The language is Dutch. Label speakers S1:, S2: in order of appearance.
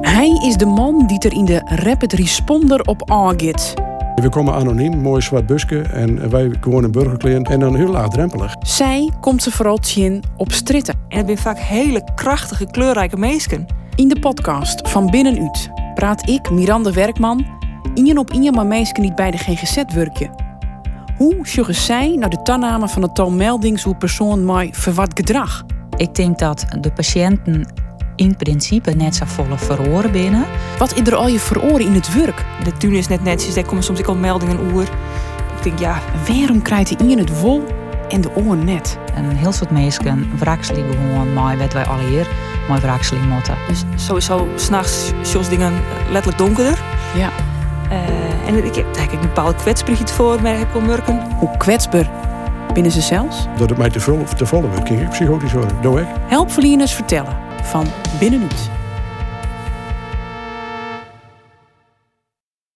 S1: Hij is de man die er in de rapid responder op aangeeft.
S2: We komen anoniem, mooi zwart busje en wij gewoon een burgerkleen en dan heel laagdrempelig.
S1: Zij komt ze vooral in op stritten.
S3: En het zijn vaak hele krachtige, kleurrijke meesken.
S1: In de podcast van Binnenuit praat ik, Miranda Werkman, ingen op ingen maar meisje niet bij de GGZ werkje. Hoe sjuggen zij naar de toename van het tal meldings hoe persoon mij verward gedrag?
S4: Ik denk dat de patiënten in principe net zo volle verhoren binnen.
S1: Wat is er al je veroren in het werk?
S3: De tuin is net netjes, daar komen soms ook al meldingen oer. Ik denk, ja,
S1: Waarom krijgt de ien het wol en de oor net?
S4: Een heel soort mensen wrakselen gewoon mooi, wat wij al hier mooi wrakselen moeten.
S3: dus sowieso s'nachts sjos dingen letterlijk donkerder.
S1: Ja.
S3: Eh, en ik heb eigenlijk een bepaalde kwetsbaarheid voor, merk ik wel merken.
S1: Hoe kwetsbaar binnen ze zelfs?
S2: Dat het mij te vol, te volle werd, ging ik psychotisch worden. Doe ik.
S1: Helpverleners vertellen van Binnenuit.